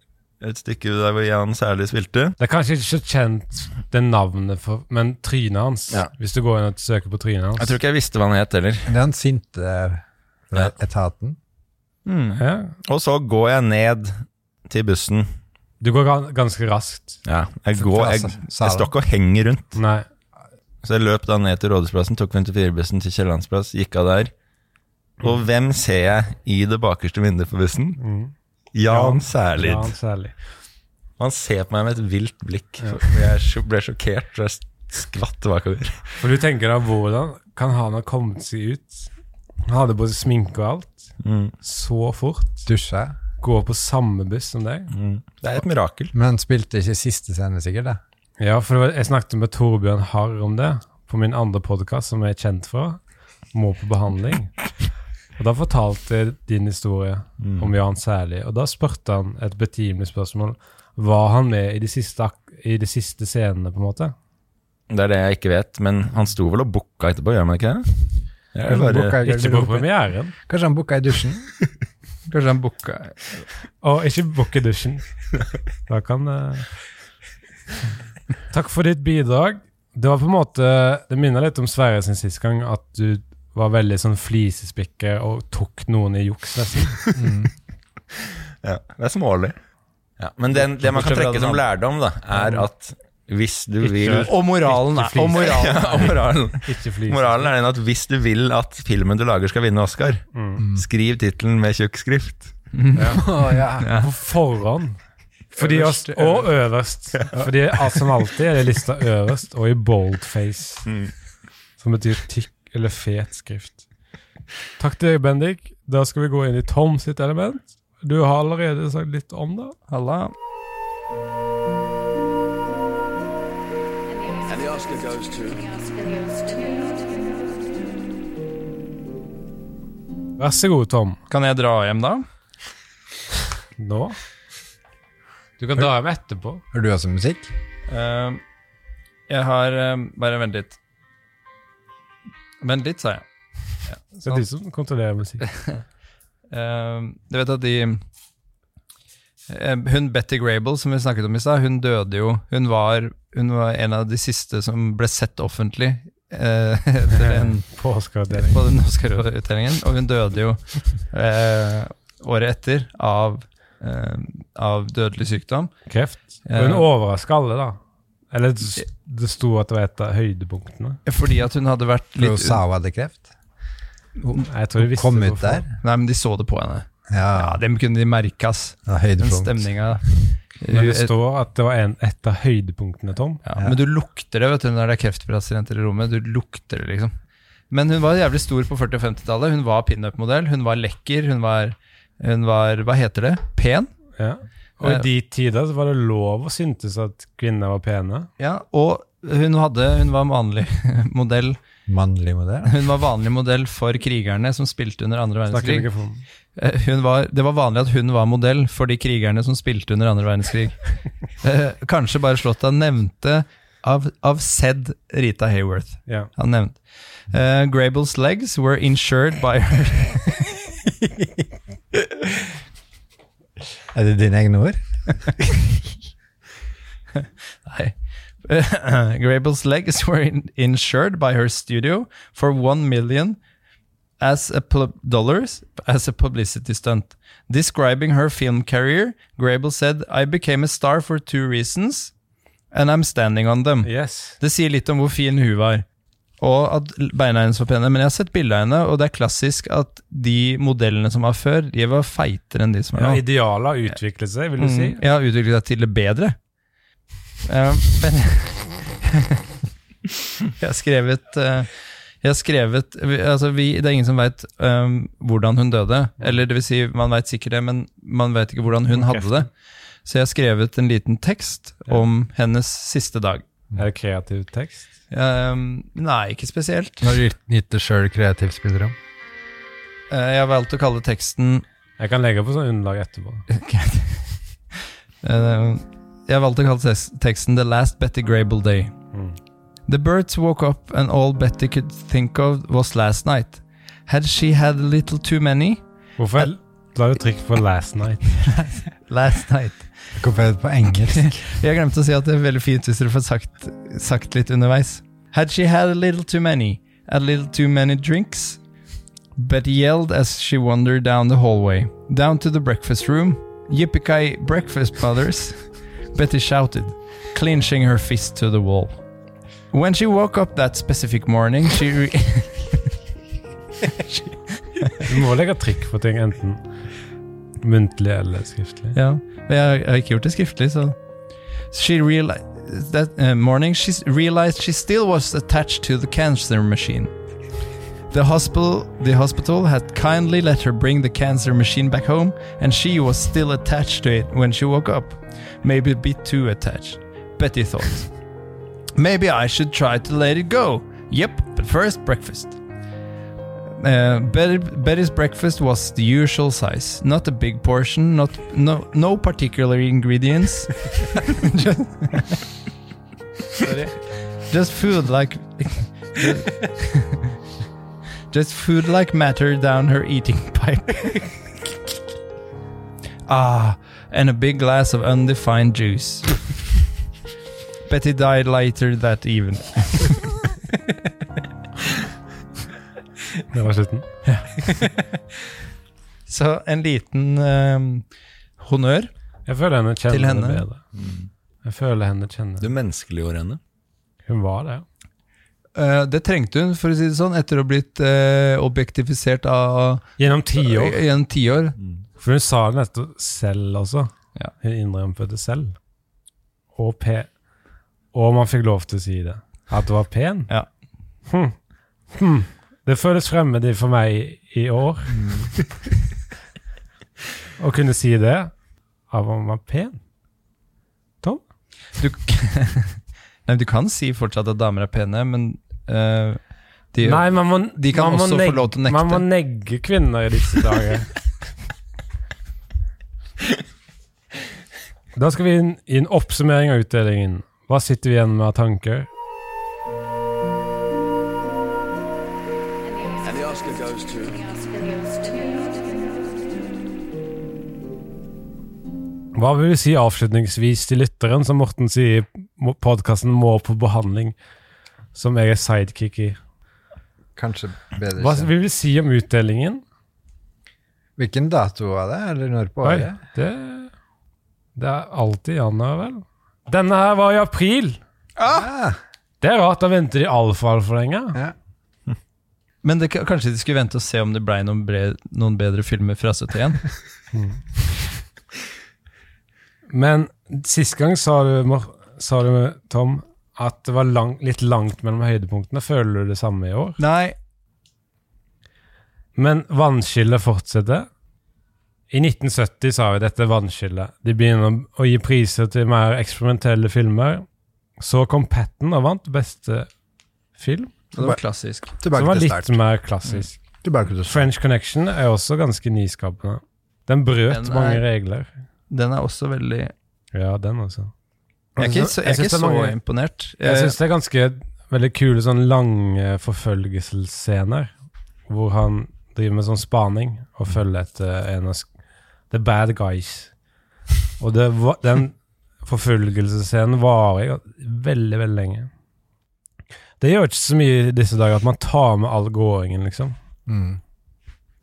Speaker 7: et stykke der hvor Jan Særlig spilte.
Speaker 4: Det er kanskje ikke så kjent det navnet, for, men trynet hans.
Speaker 7: Ja.
Speaker 4: Hvis du går inn og søker på trynet hans.
Speaker 7: Jeg tror ikke jeg visste hva han het heller.
Speaker 5: [LAUGHS] Det er den sinte fra etaten.
Speaker 4: ja.
Speaker 7: Og så går jeg ned til bussen.
Speaker 4: Du går gan- ganske raskt.
Speaker 7: Ja, jeg, går, jeg,
Speaker 5: Fra
Speaker 7: jeg
Speaker 5: Salen.
Speaker 7: står ikke og henger rundt.
Speaker 4: Nei.
Speaker 7: Så jeg løp da ned til Rådhusplassen, tok 54-bussen til Kiellandsplass, gikk av der. Og hvem ser jeg i det bakerste vinduet på bussen?
Speaker 6: Mm.
Speaker 7: Jan Særlid.
Speaker 4: Jan Særlig.
Speaker 7: Han ser på meg med et vilt blikk. Jeg sj- ble sjokkert, så jeg skvatt bakover.
Speaker 4: For du tenker da, hvordan kan han ha
Speaker 7: Mm.
Speaker 4: kommet seg ut? Han hadde både sminke og alt. Så fort.
Speaker 5: Dusja.
Speaker 4: går på samme buss som deg.
Speaker 7: Det er et mirakel.
Speaker 5: Men spilte ikke siste scene, sikkert? det.
Speaker 4: Ja, for det var, jeg snakket med Torbjørn Harr om det på min andre podkast, som jeg er kjent fra, Må på behandling. Og Da fortalte jeg din historie om Jan Særlig, og da spurte han et betimelig spørsmål. Var han med i de siste, ak- i de siste scenene, på en måte?
Speaker 7: Det er det jeg ikke vet, men han sto vel og booka etterpå, gjør han ikke det? Jeg er
Speaker 5: Kanskje han
Speaker 7: bare-
Speaker 5: booka i
Speaker 4: Ikke på
Speaker 5: garderoben.
Speaker 4: premieren.
Speaker 5: Kanskje han booka i dusjen?
Speaker 6: Kanskje han booka
Speaker 4: Og ikke bukk i dusjen. Da kan eh, Takk for ditt bidrag. Det var på en måte Det minner litt om Sverre sin sist gang, at du var veldig sånn flisespikker og tok noen i juks, nesten.
Speaker 7: Ja, det er smålig. Ja, men den, det man kan
Speaker 6: Bortsett fra
Speaker 7: trekke
Speaker 6: den
Speaker 7: som
Speaker 6: andre.
Speaker 7: lærdom, da, er at hvis du vil
Speaker 4: Ikke-
Speaker 6: Og moralen er og moralen.
Speaker 7: [LAUGHS] ja, moralen.
Speaker 4: Ikke flis.
Speaker 7: moralen er den at hvis du vil at filmen du lager skal vinne Oscar, skriv tittelen med tjukk skrift.
Speaker 5: Å, ja.
Speaker 4: På forhånd. Fordi oss,
Speaker 8: Øverst,
Speaker 4: og øverst. Fordi alt som alltid er det lista øverst, og i boldface. Som betyr tykk eller fet skrift. Takk til deg, Bendik. Da skal vi gå inn i Tom sitt element. Du har allerede sagt litt om det.
Speaker 6: Halla.
Speaker 2: And the Oscar goes to.
Speaker 4: Vær så god, Tom.
Speaker 6: Kan jeg dra hjem da?
Speaker 4: Nå. Du kan dra hjem etterpå.
Speaker 5: Hører du også musikk?
Speaker 6: Eh, jeg har eh, Bare vent litt. Vent litt, sa jeg.
Speaker 4: Det er de som kontrollerer musikk.
Speaker 6: Eh, du vet at de eh, Hun Betty Grable, som vi snakket om i stad, hun døde jo hun var, hun var en av de siste som ble sett offentlig eh, [LAUGHS] etter
Speaker 5: [LAUGHS]
Speaker 6: en
Speaker 4: På Oscar-avdelingen.
Speaker 6: på den Oscar-utdelingen, og hun døde jo eh, året etter av, eh, av dødelig sykdom.
Speaker 4: Kreft. Og hun overraska alle, da. Eller det s- det sto at det var et av høydepunktene.
Speaker 6: Fordi at hun hadde vært
Speaker 5: For hun
Speaker 6: litt
Speaker 5: sa hun hadde kreft?
Speaker 4: Jeg tror de visste
Speaker 5: Kom
Speaker 4: det på
Speaker 5: ut
Speaker 4: forhånd.
Speaker 5: der?
Speaker 6: Nei, men de så det på henne. Ja,
Speaker 5: Ja,
Speaker 6: Det kunne de merke, ass.
Speaker 5: det var
Speaker 6: Den
Speaker 5: høydepunkt.
Speaker 6: stemninga.
Speaker 4: Men det står at det var en, et av høydepunktene, Tom.
Speaker 6: Ja, men du lukter det vet du, når det er kreftpasienter i rommet. Du lukter det liksom Men hun var jævlig stor på 40- og 50-tallet. Hun var pinup-modell, hun var lekker, hun var, hun var Hva heter det? Pen?
Speaker 4: Ja. Og i
Speaker 6: Eh.
Speaker 4: de tider så var det lov å syntes at kvinner var pene.
Speaker 6: Ja, og hun, hadde, hun var vanlig [LAUGHS] modell
Speaker 5: Mannlig modell?
Speaker 6: Hun var vanlig modell for krigerne som spilte under andre
Speaker 4: Snakker
Speaker 6: verdenskrig.
Speaker 4: ikke for meg.
Speaker 6: Eh, Hun var, det var vanlig at hun var modell for de krigerne som spilte under andre
Speaker 4: [LAUGHS]
Speaker 6: verdenskrig. Eh, Kanskje bare Slåtta nevnte av, av Sed Rita Hayworth.
Speaker 4: Ja.
Speaker 6: Han nevnte eh, Grable's legs were insured by her.
Speaker 5: Er det dine egne ord?
Speaker 6: Nei. [LAUGHS] Eh, Grable's legs were in, insured by her studio for one million as a pl- dollars as a publicity stunt. Describing her film career, Grable said, I became a star for two reasons, and I'm standing on them.
Speaker 4: Yes.
Speaker 6: Det sier litt om hvor fin hun var. Og at beina hennes var pene. Men jeg har sett bilde av henne, og det er klassisk at de modellene som var før, de var feitere enn de som
Speaker 4: Ja,
Speaker 6: er nå.
Speaker 4: idealet har utviklet seg, vil du si.
Speaker 6: Mm, jeg har utviklet deg til det bedre. Eh, men [LAUGHS] jeg har skrevet eh, Jeg har skrevet vi- altså vi, Det er ingen som veit hvordan hun døde. Eller det vil si, man veit sikkert det, men man veit ikke hvordan hun hadde det. Så jeg har skrevet en liten tekst om hennes siste dag.
Speaker 5: Mm.
Speaker 4: Er det kreativ tekst?
Speaker 6: Eh, nei, ikke spesielt.
Speaker 5: Har du gitt det sjøl kreativt spillerom?
Speaker 6: Eh, Jeg har valgt å kalle teksten
Speaker 4: Jeg kan legge på sånn underlag etterpå.
Speaker 6: Eh, Jeg valgte å kalle tes- teksten The Last Betty Grable Day. The birds woke up and all Betty could think of was last night. Had she had a little too many?
Speaker 4: Hvorfor la du trykk på 'last night'?
Speaker 6: [LAUGHS] Last night.
Speaker 5: Hvorfor er det på engelsk?
Speaker 6: Jeg glemte å si at det er veldig fint hvis dere får sagt, sagt litt underveis. Had she had a little too many, a little too many drinks? Betty yelled as she wandered down the hallway, down to the breakfast room. Yippee breakfast mothers, Betty shouted, clinching her fist to the wall. When she woke up that specific morning, she. Re- she
Speaker 4: Du må legge trykk på ting, enten muntlig eller skriftlig.
Speaker 6: Ja, men jeg, jeg har ikke gjort det skriftlig, så She eh, realized That uh, morning she s- realized she still was attached to the cancer machine. The hospital, the hospital had kindly let her bring the cancer machine back home, and she was still attached to it when she woke up. Maybe a bit too attached, Betty thought. Maybe I should try to let it go. Yep, but first breakfast. Uh, Betty, Betty's breakfast was the usual size, not a big portion, not no no particular ingredients. [LAUGHS] just, [LAUGHS] Sorry. just food like [LAUGHS] just, just food like matter down her eating [LAUGHS] pipe. ah, and a big glass of undefined juice. [LAUGHS] Betty died later that evening.
Speaker 4: Det var slutten.
Speaker 6: Så en liten ehm, honnør.
Speaker 4: Jeg føler henne kjenner
Speaker 6: Til henne.
Speaker 4: bedre.
Speaker 6: Mm.
Speaker 4: Jeg føler henne kjenner
Speaker 7: Du menneskeliggjorde henne.
Speaker 4: Hun var det, ja.
Speaker 6: Eh, det trengte hun, for å si det sånn, etter å ha blitt eh, objektifisert av
Speaker 4: Gjennom tiår.
Speaker 6: i en tiår.
Speaker 4: Mm. For hun sa det nettopp selv også.
Speaker 6: Ja.
Speaker 4: Hun innrømte det selv. Og P. Og man fikk lov til å si det. At du var pen.
Speaker 6: Ja.
Speaker 4: Hm. Hm. Det føles fremmed for meg i, i år.
Speaker 6: Mm.
Speaker 4: [LAUGHS] Å kunne si det av om man var pen. Tom?
Speaker 6: Du, [LAUGHS] Nei, du kan si fortsatt at damer er pene, men eh, de,
Speaker 4: Nei, man må,
Speaker 6: de kan
Speaker 4: man må
Speaker 6: også få
Speaker 4: negge-
Speaker 6: lov til å nekte.
Speaker 4: Man må negge kvinner i disse dager. [LAUGHS] da skal vi inn i en oppsummering av utdelingen. Hva sitter vi igjen med av tanker?
Speaker 2: And the Oscar goes to.
Speaker 4: Hva vil vi si avslutningsvis til lytteren, som Morten sier i podkasten Må på behandling, som jeg er sidekick i?
Speaker 5: Kanskje bedre
Speaker 4: Hva
Speaker 5: kjent.
Speaker 4: vil vi si om utdelingen?
Speaker 5: Hvilken dato var det, eller når på
Speaker 4: Oi,
Speaker 5: året?
Speaker 4: det, det er alltid januar, vel? Denne her var i april!
Speaker 5: Ah!
Speaker 4: Det er rart, da venter de altfor altfor lenge.
Speaker 5: Ja.
Speaker 6: Men det, kanskje de skulle vente og se om det ble noen, bre, noen bedre filmer fra 71?
Speaker 4: [LAUGHS] Men sist gang sa du, Mor- sa du Tom, at det var lang, litt langt mellom høydepunktene. Føler du det samme i år?
Speaker 6: Nei.
Speaker 4: Men vannskillet fortsetter. I 1970 sa vi dette er vannskillet. De begynner å gi priser til mer eksperimentelle filmer. Så kom Patten og vant beste film,
Speaker 6: Det var klassisk.
Speaker 4: som
Speaker 5: Tilbake
Speaker 4: var
Speaker 5: til
Speaker 4: litt
Speaker 5: start.
Speaker 4: mer klassisk.
Speaker 5: Tilbake til start.
Speaker 4: French Connection er også ganske nyskapende. Den brøt
Speaker 6: Den er-
Speaker 4: mange regler.
Speaker 6: Den er også veldig Jeg
Speaker 4: Ja, den også.
Speaker 6: er ikke så,
Speaker 4: synes
Speaker 6: jeg er ikke
Speaker 4: det er
Speaker 6: så
Speaker 4: mange-
Speaker 6: imponert.
Speaker 4: Jeg
Speaker 6: Eh,
Speaker 4: syns det er ganske veldig kule sånn lange forfølgelsesscener. Hvor han driver med sånn spaning og følger etter en av sk- The Bad Guys. Og det, va- den forfølgelsesscenen varer jo veldig, veldig lenge. Det gjør ikke så mye i disse dager at man tar med all gåingen, liksom.
Speaker 5: Mm.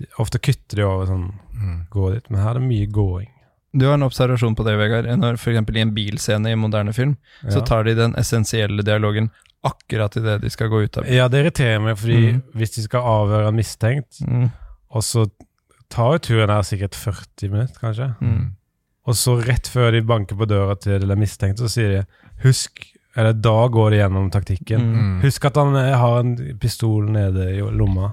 Speaker 4: De- Ofte kutter de over sånn
Speaker 5: Mm.
Speaker 4: gå dit, men her er det mye gåing.
Speaker 6: Du har en observasjon på det, Vegard. Når for eksempel I en bilscene i moderne film så
Speaker 4: Ja.
Speaker 6: tar de den essensielle dialogen akkurat idet de skal gå ut av
Speaker 4: Ja, det irriterer meg, fordi hvis de skal avhøre en mistenkt,
Speaker 6: mm.
Speaker 4: Og så tar jo turen her sikkert 40 minutter, kanskje.
Speaker 6: Mm.
Speaker 4: Og så rett før de banker på døra til den mistenkte, så sier de husk Eller da går de gjennom taktikken.
Speaker 5: Mhm.
Speaker 6: Mm.
Speaker 4: Husk at han eh, har en pistol nede i lomma.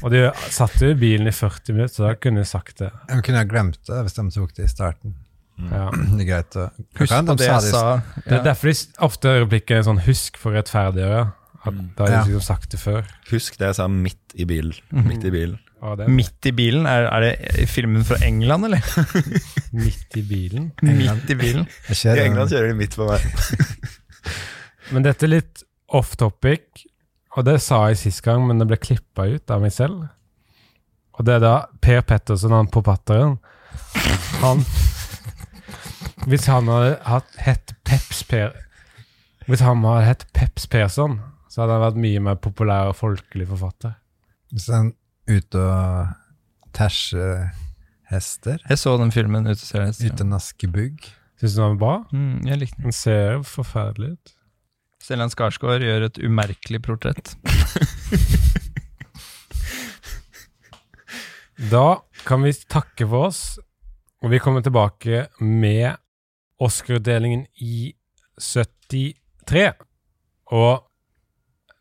Speaker 4: og de satt jo i bilen i 40 minutter, så da kunne de sagt det.
Speaker 5: Jeg kunne ha glemt det hvis de tok det i starten. [CLEARS THROAT]
Speaker 4: Ja.
Speaker 5: Det er greit å
Speaker 6: Husk
Speaker 5: Kan
Speaker 6: på
Speaker 5: de
Speaker 6: det
Speaker 5: sa
Speaker 6: jeg
Speaker 5: det i
Speaker 6: sa.
Speaker 4: Det er derfor de s- ofte replikker er sånn 'husk for å rettferdiggjøre'. At da har de
Speaker 5: Ja.
Speaker 4: liksom sagt det før.
Speaker 7: Husk det jeg sa midt i bilen. Midt i bilen.
Speaker 4: Ja, det er
Speaker 6: Midt i bilen? Er, er det filmen fra England, eller?
Speaker 4: midt i bilen.
Speaker 6: Midt i bilen.
Speaker 5: Jeg ser
Speaker 7: I
Speaker 5: den.
Speaker 7: England kjører de midt på veien.
Speaker 4: Men dette er litt off topic, og det sa jeg sist gang, men det ble klippa ut av meg selv. Og det er da Per Pettersen, han forfatteren Han Hvis han hadde hatt, hett Peps Per Hvis han hadde hett Peps Persson, så hadde han vært mye mer populær og folkelig forfatter.
Speaker 5: Hvis han er ute og tæsjer hester
Speaker 6: Jeg så den filmen ute til
Speaker 5: Ute og nasker bugg.
Speaker 4: Syns du han var bra?
Speaker 6: Mm, jeg likte den.
Speaker 4: Han ser jo forferdelig ut.
Speaker 6: Stellan Skarsgård gjør et umerkelig portrett.
Speaker 4: Da kan vi takke for oss, og vi kommer tilbake med Oscar-utdelingen i 73. Og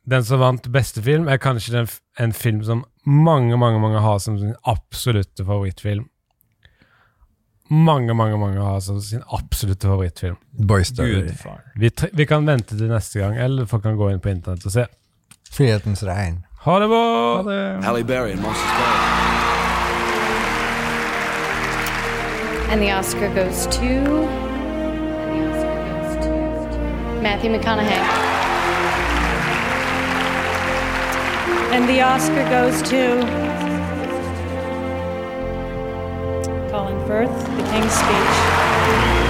Speaker 4: Den som vant beste film, er kanskje den, f- en film som mange, mange mange har som sin absolutte favorittfilm. Mange, mange mange har som sin absolutte favorittfilm.
Speaker 5: Boys Story.
Speaker 4: Vi, tre vi kan vente til neste gang, eller folk kan gå inn på internett og se.
Speaker 5: Frihetens regn.
Speaker 4: Ha det bra!
Speaker 2: Halle Berry and Monsters Ball.
Speaker 1: And the Oscar goes to. And the Oscar goes to. Matthew McConaughey.
Speaker 3: And the Oscar goes to Colin Firth, The King's Speech.